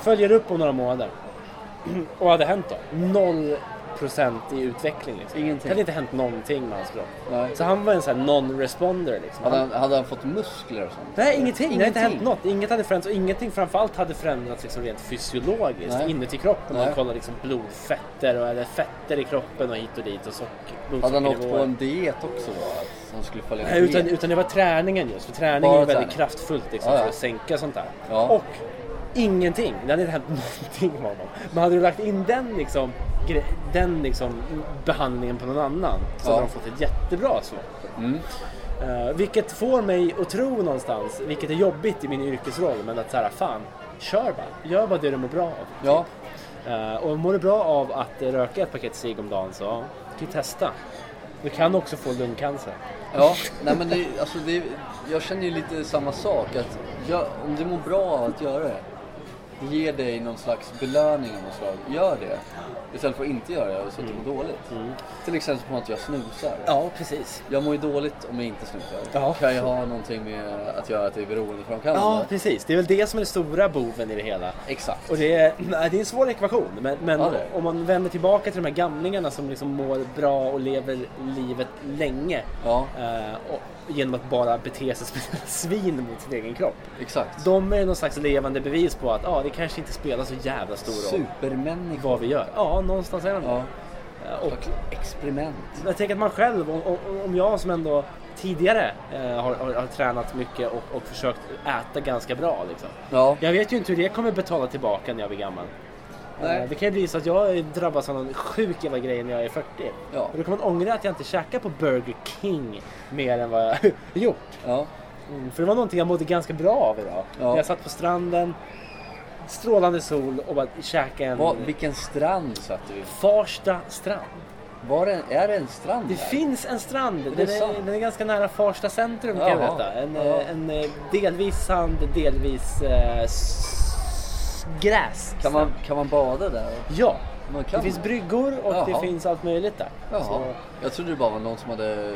B: Följer upp om några månader. Och vad hade hänt då? Noll procent i utveckling. Liksom.
A: Ingenting.
B: Det hade inte hänt någonting med hans kropp.
A: Nej.
B: Så han var en sån här non-responder. Liksom.
A: hade
B: Han,
A: han, hade han fått muskler och sånt?
B: nej, ingenting. Det hade inte hänt
A: Ingenting.
B: något. Inget hade förändrats och ingenting framförallt hade förändrats liksom rent fysiologiskt
A: Nej.
B: inuti kroppen. Man
A: Nej.
B: kollar liksom blodfetter och, eller fetter i kroppen och hit och dit och socker,
A: Hade han åkt på
B: blodsockernivåer.
A: en diet också då? Att han skulle följa
B: Nej,
A: med?
B: utan, utan det var träningen just. För träningen
A: Bara
B: är väldigt
A: träning.
B: kraftfullt liksom,
A: Ja, ja.
B: för att sänka sånt där.
A: Ja.
B: Och ingenting. Det hade inte hänt någonting med honom. Men hade du lagt in den, liksom, gre- den liksom, behandlingen på någon annan så
A: Ja.
B: hade de fått ett jättebra svar.
A: Mm.
B: Eh, vilket får mig att tro någonstans, vilket är jobbigt i min yrkesroll, men att så här, fan, kör bara. Gör bara det du mår bra av.
A: Ja,
B: Eh, och mår du bra av att eh, röka ett paket cigg om dagen så ja, du kan testa. Du kan också få lungcancer.
A: ja. Nej, men det, alltså det, jag känner ju lite samma sak. Att jag, om du mår bra av att göra det, det ger dig någon slags belöning av något slag. Gör det. Istället för att inte göra det och så att du mår dåligt. Till exempel som att jag snusar.
B: Mm. Ja, precis.
A: Jag mår ju dåligt om jag inte snusar.
B: Ja.
A: Kan jag ha någonting med att göra att det är beroendeframkallande?
B: Ja, precis. Det är väl det som är den stora boven i det hela.
A: Exakt.
B: Och det är, nej, det är en svår ekvation, men, men
A: Ja, det är det.
B: om man vänder tillbaka till de här gamlingarna som liksom mår bra och lever livet länge
A: Ja,
B: eh, och, genom att bara bete sig som ett svin mot sin egen kropp.
A: exakt.
B: De är någon slags levande bevis på att ah, det kanske inte spelar så jävla stor roll
A: Supermänniskor.
B: vad vi gör. Ja, någonstans är de
A: Ja,
B: det. Eh, Och
A: experiment.
B: jag tänker att man själv, om, om- om jag som ändå tidigare eh, har, har, har tränat mycket och, och försökt äta ganska bra liksom.
A: Ja,
B: Jag vet ju inte hur det kommer betala tillbaka när jag blir gammal.
A: Nej.
B: Eh, Det kan ju bli så att jag drabbas av någon sjuk jävla grej när jag är 40.
A: Ja.
B: Och då kommer man ångra att jag inte käkar på Burger King mer än vad jag gjort.
A: ja,
B: Mm, för det var någonting jag mådde ganska bra av idag.
A: Ja.
B: Jag satt på stranden, strålande sol och bara käkade en
A: Vad, vilken strand satte vi?
B: Farsta strand.
A: Var det, är det en strand
B: Det
A: där?
B: finns en strand. Den
A: sant?
B: är, den är ganska nära Farsta centrum kan jag
A: Jaha.
B: veta. En, eh,
A: Ja.
B: en eh, delvis sand, delvis eh, s- gräs.
A: Kan man, kan man bada där?
B: Ja,
A: Man
B: det
A: kan.
B: finns bryggor och det
A: Jaha.
B: finns allt möjligt där. Så-
A: Jaha. Jag trodde det bara var någon som hade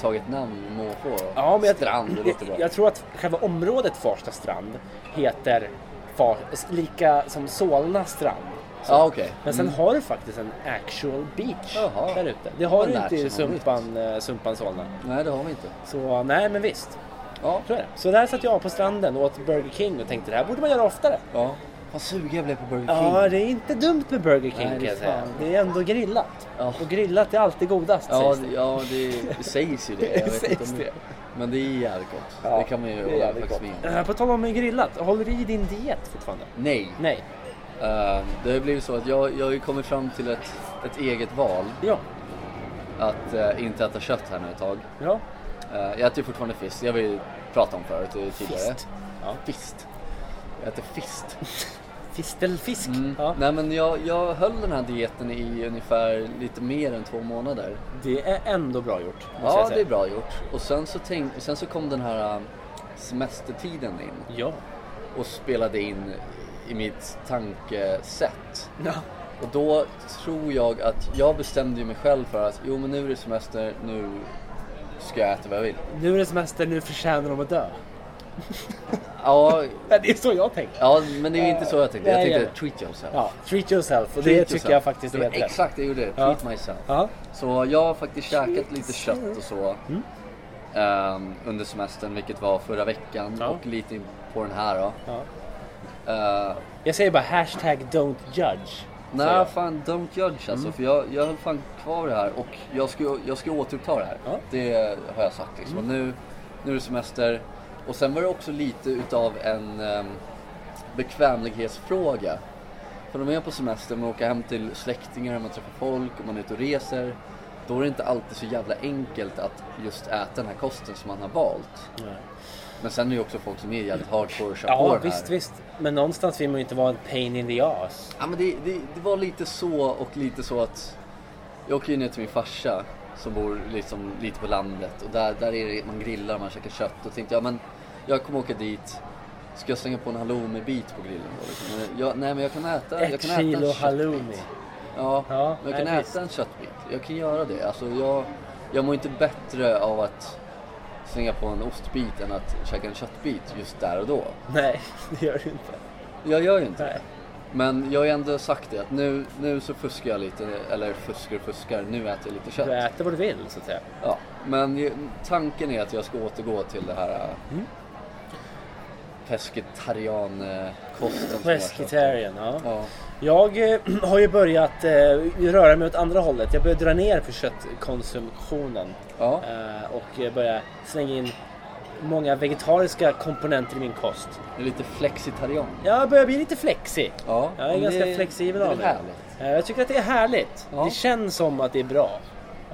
A: tagit namn måfå.
B: Ja, men jag,
A: Strand, det låter bra.
B: jag, jag tror att själva området Farsta strand heter Far, lika som Solna strand. Så-
A: Ja, okej.
B: Men sen har du faktiskt en actual beach
A: Jaha.
B: där ute. Det har
A: Man
B: du
A: lär
B: inte i
A: sig något nytt.
B: Sumpan, eh, Sumpan Solna.
A: Mm, Nej, det har vi inte.
B: Så nej, men visst.
A: Ja.
B: Så är det. Så där satt jag på stranden och åt Burger King och tänkte det här borde man göra oftare.
A: ja. Vad sugen jag blev på Burger King.
B: Ja, det är inte dumt med Burger King
A: Nej,
B: kan
A: det är
B: jag säga.
A: fan.
B: Det är ändå grillat.
A: Ja.
B: Och grillat är alltid godast
A: Ja,
B: sägs det.
A: det, ja det, det sägs ju det. Jag
B: Det
A: vet
B: sägs
A: inte om
B: det.
A: Men det är jävligt gott.
B: Ja,
A: det kan man ju
B: det är
A: hålla
B: jävligt
A: faktiskt med
B: gott.
A: om.
B: Eh, På tal om grillat, håller du i din diet fortfarande?
A: Nej.
B: Nej.
A: Eh, det har ju blivit så att jag, jag har ju kommit fram till ett, ett eget val.
B: Ja.
A: Att eh, inte äta kött här nu ett tag.
B: Ja.
A: Eh, jag äter ju fortfarande fisk. Jag har vi ju pratat om förut eh, tidigare.
B: Fist. Ja.
A: Fist. Jag äter fist.
B: Fistelfisk.
A: Mm.
B: Ja.
A: Nej men jag, jag höll den här dieten i ungefär lite mer än två månader.
B: Det är ändå bra gjort. måste jag
A: Ja
B: säga.
A: det är bra gjort. Och sen så, tänk, sen så kom den här eh, semestertiden in
B: Ja.
A: och spelade in i mitt tankesätt.
B: ja.
A: Och då tror jag att jag bestämde ju mig själv för att jo men nu är det semester, nu ska jag äta vad jag vill.
B: Nu är det semester, nu förtjänar de att dö.
A: Ja,
B: Ja, Det är så jag tänker.
A: ja men det är ju inte så jag tänkte. Jag
B: Nej,
A: tänkte
B: jag vet.
A: treat yourself.
B: Ja. Treat yourself och det
A: Treat
B: tycker
A: yourself.
B: jag faktiskt
A: Det
B: är
A: var
B: helt rätt.
A: Exakt det jag gjorde,
B: Ja.
A: treat myself.
B: Ja.
A: Så jag har faktiskt käkat lite kött och så
B: Mm.
A: ehm, under semestern, vilket var förra veckan
B: Ja.
A: och lite in på den här då.
B: Ja.
A: Eh,
B: Jag säger bara hashtag don't judge. säger
A: Nej
B: jag. Mm.
A: fan, don't judge alltså. För jag, jag höll fan kvar det här och jag ska, jag ska återuppta det här.
B: Ja. Mm.
A: Det har jag sagt liksom. Och nu, nu är det semester. Och sen var det också lite utav en ehm, bekvämlighetsfråga. För när man är på semester, man åker hem till släktingar, man träffar folk och man är ute och reser. Då är det inte alltid så jävla enkelt att just äta den här kosten som man har valt.
B: Nej.
A: Men sen är det ju också folk som är jävligt hardcore och kör på
B: Ja,
A: det här.
B: visst, visst. Men någonstans vill man ju inte vara en pain in the ass.
A: Ja men det, det, det var lite så och lite så att jag åker ju ner till min farsa som bor liksom lite på landet och där, där är det, man grillar man käkar kött och tänkte jag men jag kommer åka dit Ska jag slänga på en halloumibit på grillen då? Liksom? Men Jag, nej men jag kan äta, jag
B: Ett
A: kan äta
B: kilo
A: en kött-
B: halloumi.
A: Ja,
B: Ja,
A: men jag kan
B: nej,
A: äta en köttbit. Jag kan göra det. Alltså jag, jag mår inte bättre av att slänga på en ostbit än att käka en köttbit just där och då.
B: Nej, det gör du inte.
A: Jag gör ju inte
B: Nej.
A: men jag har ju ändå sagt det att nu, nu så fuskar jag lite, eller fuskar och fuskar, nu äter jag lite
B: Du
A: kött.
B: äter vad du vill, så att säga.
A: Ja, men ju- tanken är att jag ska återgå till det här mm. pescetarian-kosten. eh, som jag köpte.
B: Pescetarian, ja.
A: Ja.
B: Jag eh, har ju börjat eh, röra mig åt andra hållet. Jag börjar dra ner på köttkonsumtionen.
A: Ja.
B: Eh, och eh, börjar slänga in många vegetariska komponenter i min kost.
A: Det är lite flexitarian.
B: Jag börjar bli lite flexig.
A: Ja,
B: Jag är
A: men
B: ganska
A: det-
B: flexibel
A: det är
B: av
A: väl
B: mig.
A: härligt.
B: Eh, Jag tycker att det är härligt.
A: Ja.
B: Det känns som att det är bra.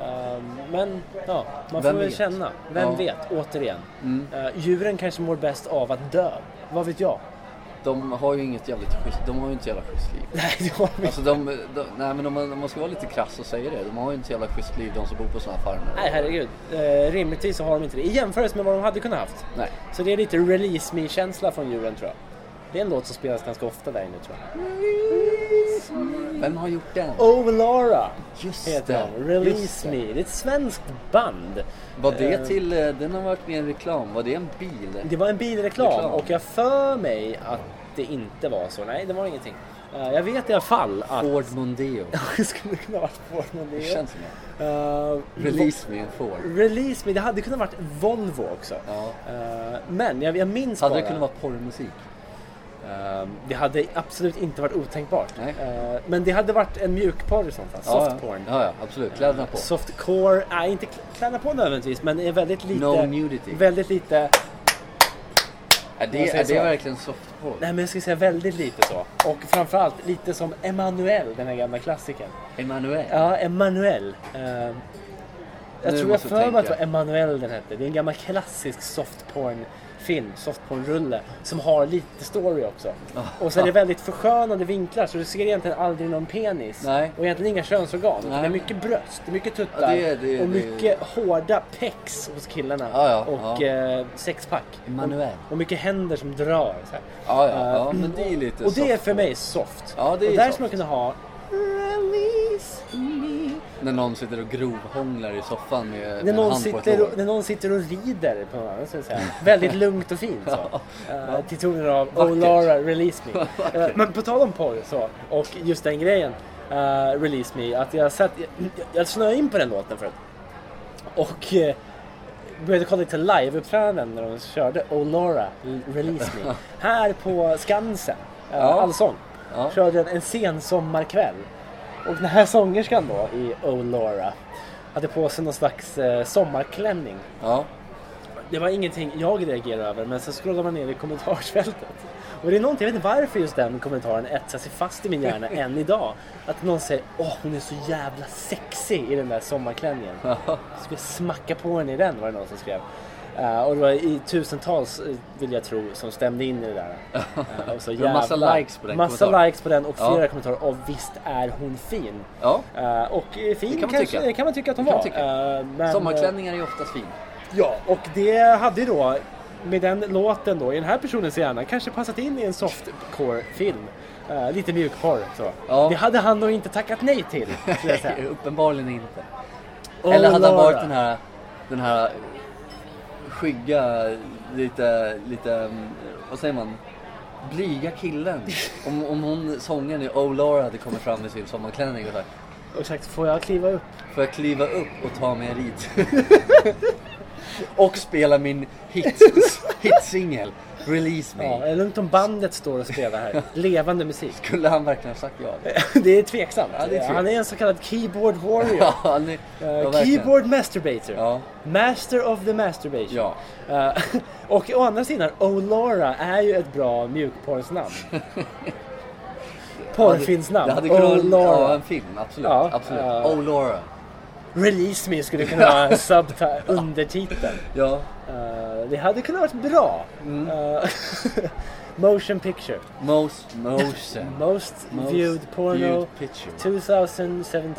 B: Ehm, men ja,
A: Vem
B: man får väl
A: vet?
B: känna. Vem
A: Ja.
B: vet, återigen.
A: Mm.
B: Eh, djuren kanske mår bäst av att dö. Vad vet jag?
A: De har ju inget jävligt schysst, de har ju inte ett jävla schysst liv.
B: Nej, det har vi inte.
A: Alltså de, de nej men om man, om man ska vara lite krass och säga det, de har ju inte ett jävla schysst liv de som bor på sådana här farmer.
B: Nej, herregud. Eh, rimligtvis så har de inte det. I jämförelse med vad de hade kunnat haft.
A: Nej.
B: Så det är lite release me-känsla från djuren tror jag. Det är en låt som spelas ganska ofta där inne tror jag.
A: Vem har gjort den?
B: Oh Lara
A: Just
B: heter
A: det,
B: de.
A: just
B: Release
A: det.
B: me. Det är ett svenskt band.
A: Var det
B: Eh,
A: till, eh, den har varit med i en reklam, var det en bil?
B: Det var en bilreklam
A: Reklam.
B: och jag för mig att det inte var så. Nej, det var ingenting. Eh, jag vet i alla fall att...
A: Ford Mondeo.
B: Det skulle kunna varit Ford, men det
A: Det
B: är-
A: känns som
B: Eh,
A: det. Release me en Ford.
B: Release Me, det hade kunnat varit Volvo också.
A: Ja.
B: Eh, men jag, jag minns
A: Hade det
B: bara...
A: kunnat vara porrmusik?
B: Eh, det hade absolut inte varit otänkbart.
A: Nej.
B: Eh, men det hade varit en mjukporr i så fall. Softporn.
A: Ja, ja, absolut. Kläderna på.
B: Softcore, nej inte kl- kläderna på nödvändigtvis men är väldigt lite...
A: No nudity.
B: Väldigt lite...
A: Är
B: man
A: det,
B: säger
A: är det
B: så.
A: verkligen softporr?
B: Nej men jag skulle säga väldigt lite så. Och framförallt lite som Emanuel, den här gamla klassikern.
A: Emanuel?
B: Ja, Emanuel. Eh, jag
A: Nu
B: tror jag
A: måste jag
B: för mig att det var
A: tänka.
B: Emanuel den hette. Det är en gammal klassisk softporn-film, softporn-rulle, som har lite story också.
A: Ah.
B: Och så är det väldigt förskönande vinklar så du ser egentligen aldrig någon penis.
A: Nej.
B: Och egentligen inga könsorgan. utan
A: Nej.
B: Det är mycket bröst, det är mycket tuttar
A: Ja, det är- det är-
B: och
A: det är-
B: mycket hårda pecs hos killarna.
A: Ja, ja,
B: och
A: ja.
B: Eh, sexpack.
A: Emanuel.
B: Och, och mycket händer som drar. Så här.
A: Ja, ja,
B: Eh,
A: ja, men det är lite
B: Och det är
A: softporn.
B: för mig soft.
A: Ja, det är
B: och där
A: soft. Mm.
B: ska man kunna ha Release me.
A: När någon sitter och grovhånglar i soffan med, med
B: När
A: en
B: någon,
A: hand på ett
B: sitter
A: lår.
B: och, när någon sitter och rider på någon annan, så att säga. Väldigt lugnt och fint. Så. Eh, till tonen av Oh
A: Vackert.
B: Lara, release me. Eh, men på tal om porr så, och just den grejen, eh, release me, att jag satt, jag, jag snöade in på den låten förut. Och eh, började kolla lite liveuppträdanden när de körde Oh Lara, release me. Här på Skansen, eh,
A: Ja.
B: Allsång,
A: Ja.
B: körde en, en sen sommarkväll. Och den här sångerskan då i Oh Laura hade på sig någon slags eh, sommarklänning.
A: Ja.
B: Det var ingenting jag reagerade över men så scrollade man ner i kommentarsfältet. Och det är någonting, jag vet inte varför just den kommentaren etsar sig fast i min hjärna än idag. Att någon säger åh hon är så jävla sexig i den där sommarklänningen. Ska jag smacka på henne i den var det någon som skrev. Eh, och det var i tusentals, eh, vill jag tro, som stämde in i det där. Eh, och så
A: Det var massa
B: jävla-
A: likes på den
B: Massa
A: kommentaren.
B: likes på den och
A: Ja.
B: flera kommentarer. Och visst är hon fin.
A: ja.
B: Eh, och eh, fin
A: Det kan
B: kan
A: man
B: kanske,
A: tycka.
B: kan man tycka att hon
A: Det kan
B: var.
A: man tycka.
B: Eh, men, eh,
A: Sommarklänningar är oftast fin.
B: Ja, och det hade ju då med den låten då i den här personens hjärna kanske passat in i en softcore-film. Eh, lite mjukporr så.
A: Ja.
B: Det hade han nog inte tackat nej till. skulle jag säga.
A: Uppenbarligen inte.
B: Oh,
A: Eller hade han
B: Laura.
A: varit den här, den här skygga, lite, lite, mm, vad säger man? Blyga killen. Om, om hon, sången i Oh Laura hade kommit fram i sin sommarklänning och sagt
B: Och sagt, får jag kliva upp?
A: Får jag kliva upp och ta mig en rit? och spela min hit, hitsingel, Release
B: Ja,
A: Me.
B: är det lugnt om bandet står och spelar här? Levande musik.
A: Skulle han verkligen ha sagt ja?
B: det är tveksamt.
A: Ja, det är tveksamt.
B: Han är en så kallad keyboard warrior.
A: Ja, han är-
B: Eh,
A: ja, verkligen.
B: keyboard masturbator.
A: Ja.
B: Master of the masturbation.
A: Ja.
B: Eh, och å andra sidan, O'Lara är ju ett bra mjukporrsnamn.
A: Det
B: Porrfilmsnamn.
A: hade kunnat vara en- ja,
B: O'Lara.
A: en film, absolut.
B: Oh, Ja,
A: absolut.
B: eh.
A: oh Laura.
B: Release Me skulle kunna vara en subti- undertitel.
A: Ja.
B: Eh, det hade kunnat varit bra.
A: Mm.
B: Eh, motion Picture.
A: Most, motion.
B: Most,
A: Most
B: viewed porno
A: viewed picture.
B: 2017.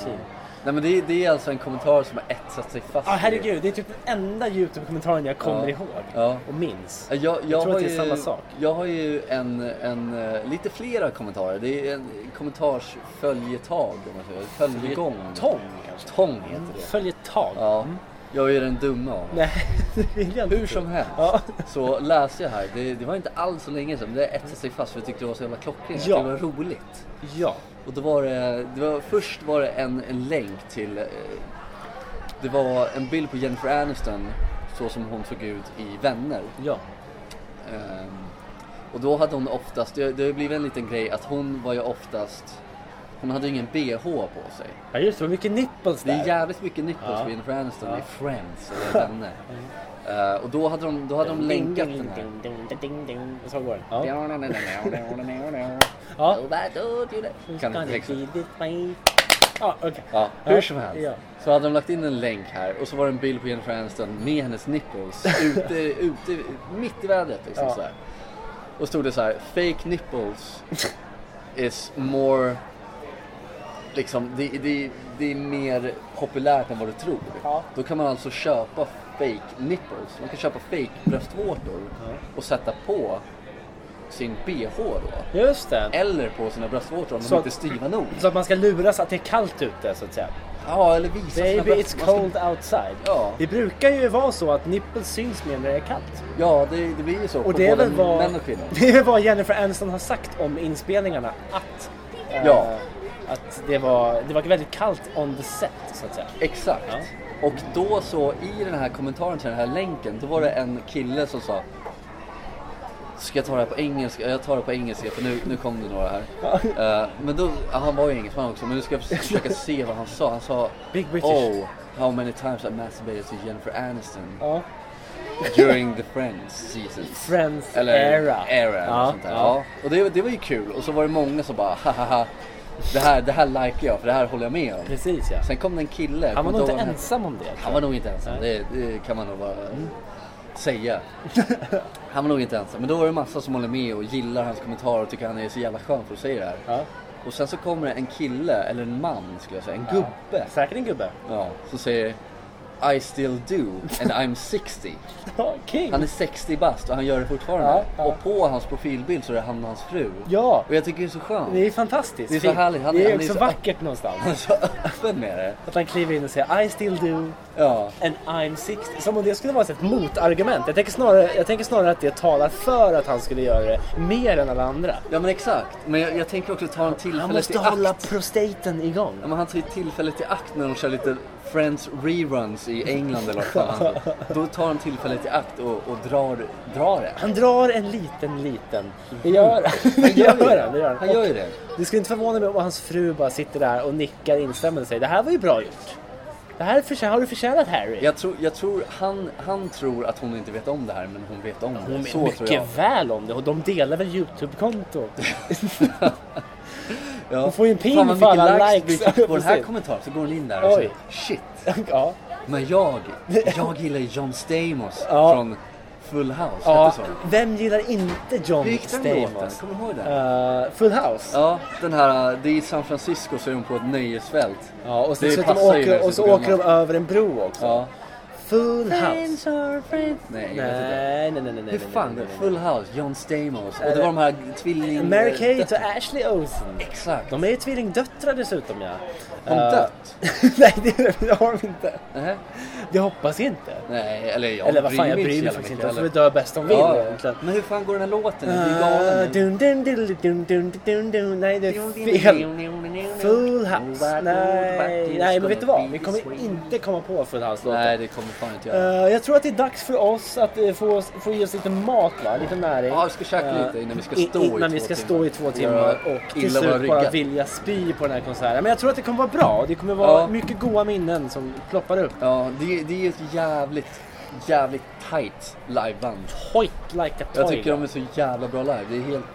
A: Nej men det är, det är alltså en kommentar som har etsat sig fast.
B: Ja,
A: i det.
B: herregud. Det är typ den enda YouTube-kommentaren jag kommer
A: Ja.
B: ihåg
A: Ja.
B: och minns.
A: Jag, jag, har
B: tror att det är
A: ju,
B: samma sak.
A: Jag har ju en, en, eh, lite flera kommentarer. Det är en kommentarsföljetag om man säger. Följegång.
B: Tång kanske?
A: Tång heter det.
B: Följetag?
A: Ja. Jag är den dumma av oss.
B: Nej, det vill jag inte.
A: Hur som helst
B: Ja.
A: så läste jag här, det, det var inte alls så länge sedan, men det etsade sig fast för jag tyckte det var så jävla klockrent.
B: Ja.
A: Det var roligt.
B: Ja.
A: Och då var det, det var, först var det en, en länk till, eh, det var en bild på Jennifer Aniston så som hon såg ut i Vänner.
B: Ja.
A: Ehm, och då hade hon oftast, det, det har ju blivit en liten grej att hon var ju oftast, hon hade ju ingen bh på sig.
B: Ja just det, det var mycket nipples
A: Det
B: där.
A: är jävligt mycket nipples
B: Ja.
A: på Jennifer Aniston
B: Ja. Mm.
A: i Friends eller Vänner. Eh, och då hade de, då hade de
B: Ding,
A: länkat
B: ding,
A: den här.
B: ding, ding, ding, ding, ding. Så går den. Ja.
A: Ja.
B: ja.
A: Kan inte texten.
B: Ja, okej.
A: liksom- Ja,
B: Ja.
A: hur som helst.
B: Ja.
A: Så hade de lagt in en länk här och så var det en bild på Jennifer Aniston med hennes nipples ute, ute mitt i vädret. Liksom,
B: Ja.
A: så här. Och stod det så här, fake nipples is more, liksom, det, det, det är mer populärt än vad du tror.
B: Ja.
A: Då kan man alltså köpa fake nipples, man kan köpa fake bröstvårtor och sätta på sin bh då.
B: Just det.
A: Eller på sina bröstvårtor om de
B: Så-
A: inte är stiva nog.
B: Så att man ska luras att det är kallt ute så att säga.
A: Ja, eller visa sina
B: Baby it's
A: bröstvårtor. Man ska-
B: cold outside.
A: Ja.
B: Det brukar ju vara så att nipples syns mer när det är kallt.
A: Ja, det, det blir ju så.
B: Och
A: på
B: det är
A: både
B: väl vad,
A: män och kvinnor.
B: det är vad Jennifer Aniston har sagt om inspelningarna. Att, eh,
A: Ja.
B: att det, var, det var väldigt kallt on the set så att säga.
A: Exakt.
B: Ja.
A: Och då så, i den här kommentaren till den här länken, då var det en kille som sa Ska jag ta det här på engelska? Jag tar det på engelska för nu, nu kom det några här. Eh, men då, ja, han var ju engelsman också, men nu ska jag försöka se vad han sa. Han sa
B: Big British.
A: Oh, how many times I masturbated to Jennifer Aniston
B: Ja.
A: during the Friends season.
B: Friends
A: Eller
B: era.
A: era eller
B: Ja,
A: sånt där.
B: ja.
A: Ja. Och det, det var ju kul. Och så var det många som bara hahaha. Det här, det här likar jag för det här håller jag med om.
B: Precis ja.
A: Sen kom det en kille.
B: Han
A: kommer
B: var nog
A: inte
B: inte
A: ihåg vad
B: ensam Mm. om det.
A: Han var nog inte ensam. Det, det kan man nog bara säga. Han var nog inte ensam. Men då var det massa som håller med och gillar hans kommentarer och tycker han är så jävla skön för att säga det här.
B: Ja.
A: Och sen så kommer det en kille, eller en man skulle jag säga, en gubbe.
B: Säkert en gubbe.
A: Ja, som säger I still do and I'm 60.
B: Ja, king.
A: Han är 60 bast och han gör det fortfarande.
B: Ja, ja.
A: Och på hans profilbild så är det han och hans fru.
B: Ja.
A: Och jag tycker det är så skönt.
B: Det är fantastiskt.
A: Det är så härligt. Han är-
B: det är
A: han är
B: också
A: så-
B: vackert någonstans.
A: Han är så öppen med det.
B: Att han kliver in och säger I still do
A: Ja.
B: and I'm 60. Som om det skulle vara ett motargument. Jag tänker, snarare, jag tänker snarare att det talar för att han skulle göra det mer än alla andra.
A: Ja men exakt. Men jag, jag tänker också ta en
B: Han
A: tillfälle
B: måste
A: till
B: hålla
A: akt.
B: prostaten igång.
A: Ja, men han tar ju tillfället i akt när de kör lite Friends reruns i England eller vad fan han Då tar han tillfället i akt och, och drar, drar det.
B: Han drar en liten, liten. Det gör han. Det gör
A: ju
B: han. Det gör
A: Han
B: Och
A: Mm. gör ju det.
B: Det skulle inte förvåna mig om hans fru bara sitter där och nickar instämmande och säger det här var ju bra gjort. Det här förtjä- har du förtjänat Harry.
A: Jag tror, jag tror han, han tror att hon inte vet om det här men hon vet om det.
B: Hon
A: Så
B: vet
A: tror jag.
B: mycket väl om det och de delar väl Youtube-konto.
A: Ja.
B: Hon får ju en pin
A: Fan, vad
B: för alla
A: mycket
B: likes.
A: vi fick på den här
B: Precis.
A: kommentaren så går hon in där och
B: Oj.
A: säger shit.
B: ja.
A: Men jag, jag gillar ju John Stamos
B: Ja.
A: från Full House.
B: ja.
A: hette så.
B: Vem gillar inte John
A: Hur gick den låten?
B: Stamos?
A: Kommer du ihåg den?
B: Eh, full House.
A: Ja, den här, det är i San Francisco så är de på ett nöjesfält.
B: Ja, och så,
A: Det
B: så de
A: passar ju
B: åker,
A: med
B: och så
A: programmet.
B: åker de över en bro också.
A: Ja.
B: Full house.
A: Nej, jag vet inte.
B: Nej, nej, nej, nej. nej,
A: Hur
B: nej,
A: fan,
B: nej, nej.
A: Full House, John Stamos och det var de här tvilling...
B: Mary Kate och Ashley Olsen.
A: Exakt.
B: De är ju tvillingdöttrar dessutom ja.
A: Har de
B: Eh,
A: dött?
B: nej, det, det har de inte.
A: Nähä.
B: Det hoppas jag inte.
A: Nej, eller jag
B: Eller vad fan, jag
A: mig
B: bryr
A: så
B: mig
A: jävla
B: faktiskt
A: mycket
B: inte. De får
A: heller.
B: väl dö bäst de vill
A: Ja,
B: egentligen.
A: men hur fan går den här låten? Den blir
B: Uh,
A: galen. nu.
B: dun, dun, dun, dun, dun, dun, dun. Nej, det är fel. Full House. Nej, nej men vet du vad? Vi kommer inte komma på Full House-låten.
A: Nej, det kommer fan inte
B: Eh,
A: göra.
B: jag tror att det är dags för oss att eh, få, oss- få i oss lite mat, va? lite näring.
A: Ja, vi ska käka
B: Eh,
A: lite innan vi ska
B: i-
A: stå i
B: innan vi
A: två
B: ska
A: timmar.
B: stå i två timmar
A: Göra
B: och till
A: illa våra
B: slut bara
A: ryggar.
B: vilja spy på den här konserten. Men jag tror att det kommer vara bra. Det kommer vara
A: Ja.
B: mycket goa minnen som ploppar upp.
A: Ja, det, det är ju ett jävligt, jävligt tight liveband.
B: Hoit like a toy.
A: Jag tycker de är så jävla bra live. Det är helt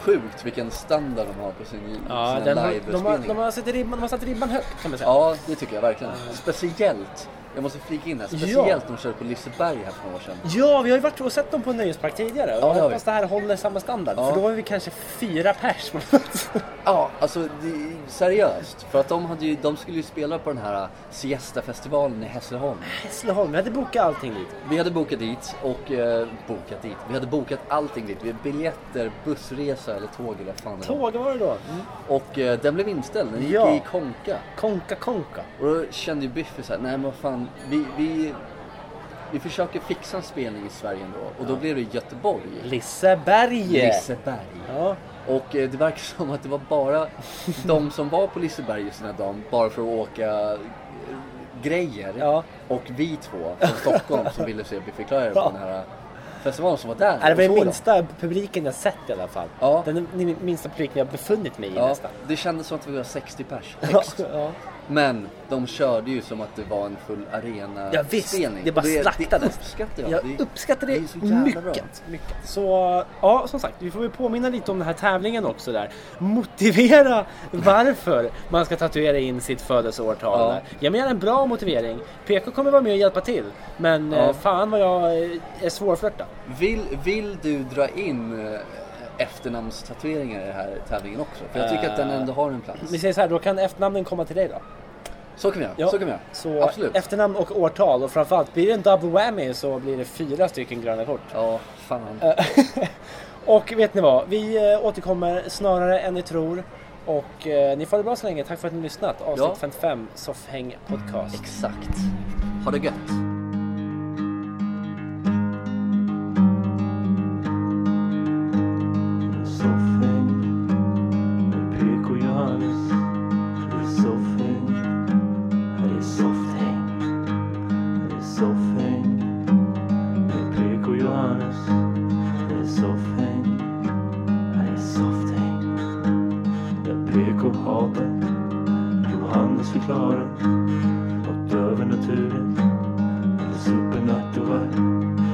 A: sjukt vilken standard de har på sin,
B: ja,
A: sina
B: den, har- de, har, de,
A: livespelningar.
B: har satt ribban, de har satt ribban högt kan man säga.
A: Ja, det tycker jag verkligen. Speciellt, jag måste flika in här, speciellt när de körde på Liseberg här för några år sedan.
B: Ja, vi har ju varit och sett dem på Nöjespark tidigare.
A: det
B: jag
A: har vi.
B: hoppas det här håller samma standard.
A: Ja.
B: För då är vi kanske fyra pers. på plats.
A: Ja, alltså det, seriöst. För att de, hade ju, de skulle ju spela på den här Siesta-festivalen i Hässleholm.
B: Hässleholm, vi hade bokat allting dit.
A: Vi hade bokat dit och... Eh, bokat dit? Vi hade bokat allting dit. Vi hade biljetter, bussresa eller tåg eller vad fan det var.
B: Tåg var det då.
A: Och eh, den blev inställd. Den gick
B: Ja.
A: i konka.
B: Konka, konka.
A: Och då kände ju Biffy såhär, nej men vad fan, vi, vi, vi försöker fixa en spelning i Sverige ändå. Och då blev det Göteborg,
B: Liseberg!
A: Liseberg.
B: Ja.
A: Och eh, det verkar som att det var bara de som var på Liseberg just den här dagen, bara för att åka eh, grejer.
B: Ja.
A: Och vi två från Stockholm som ville se Biffy Clyro på den här festivalen som var där.
B: Nej, Äh, Det var
A: och
B: den
A: såg dem.
B: minsta publiken jag sett i alla fall.
A: Ja.
B: Den minsta publiken jag befunnit mig i
A: Ja,
B: nästan.
A: det kändes som att vi var 60 pers.
B: Ja,
A: Högst.
B: ja.
A: Men de körde ju som att det var en full arena
B: Ja, visst,
A: spelning.
B: det bara slaktades.
A: Det uppskattar jag.
B: Jag
A: det,
B: uppskattar det,
A: är så jävla bra.
B: mycket, mycket. Så ja, som sagt, vi får väl påminna lite om den här tävlingen också där. Motivera varför man ska tatuera in sitt födelseårtal.
A: Ja.
B: Ja. Ge mig gärna en bra motivering. PK kommer vara med och hjälpa till. Men
A: Ja.
B: eh, fan vad jag eh, är svårflörtad.
A: Vill, vill du dra in eh, efternamnstatueringar i den här tävlingen också? För jag tycker att den
B: Eh,
A: ändå har en plats.
B: Vi säger så här, då kan efternamnen komma till dig då.
A: Så kan vi göra.
B: Ja,
A: Så kan vi göra.
B: Så
A: Absolut.
B: efternamn och årtal och framförallt blir det en double whammy så blir det fyra stycken gröna kort.
A: Ja, fan.
B: Eh, och vet ni vad? Vi eh, återkommer snarare än ni tror. Och eh, ni får det bra så länge. Tack för att ni har lyssnat. Avsnitt
A: Ja.
B: 55, Soffhäng Podcast.
A: Exakt. Ha det gött.
C: Soffhäng med PK Johannes. Det är soffhäng. Här är softhäng. Det är soffhäng med PK Johannes. Det är soffhäng. Här är softhäng. Där PK hatar. Johannes förklarar. Något över naturen. Eller supernaturell.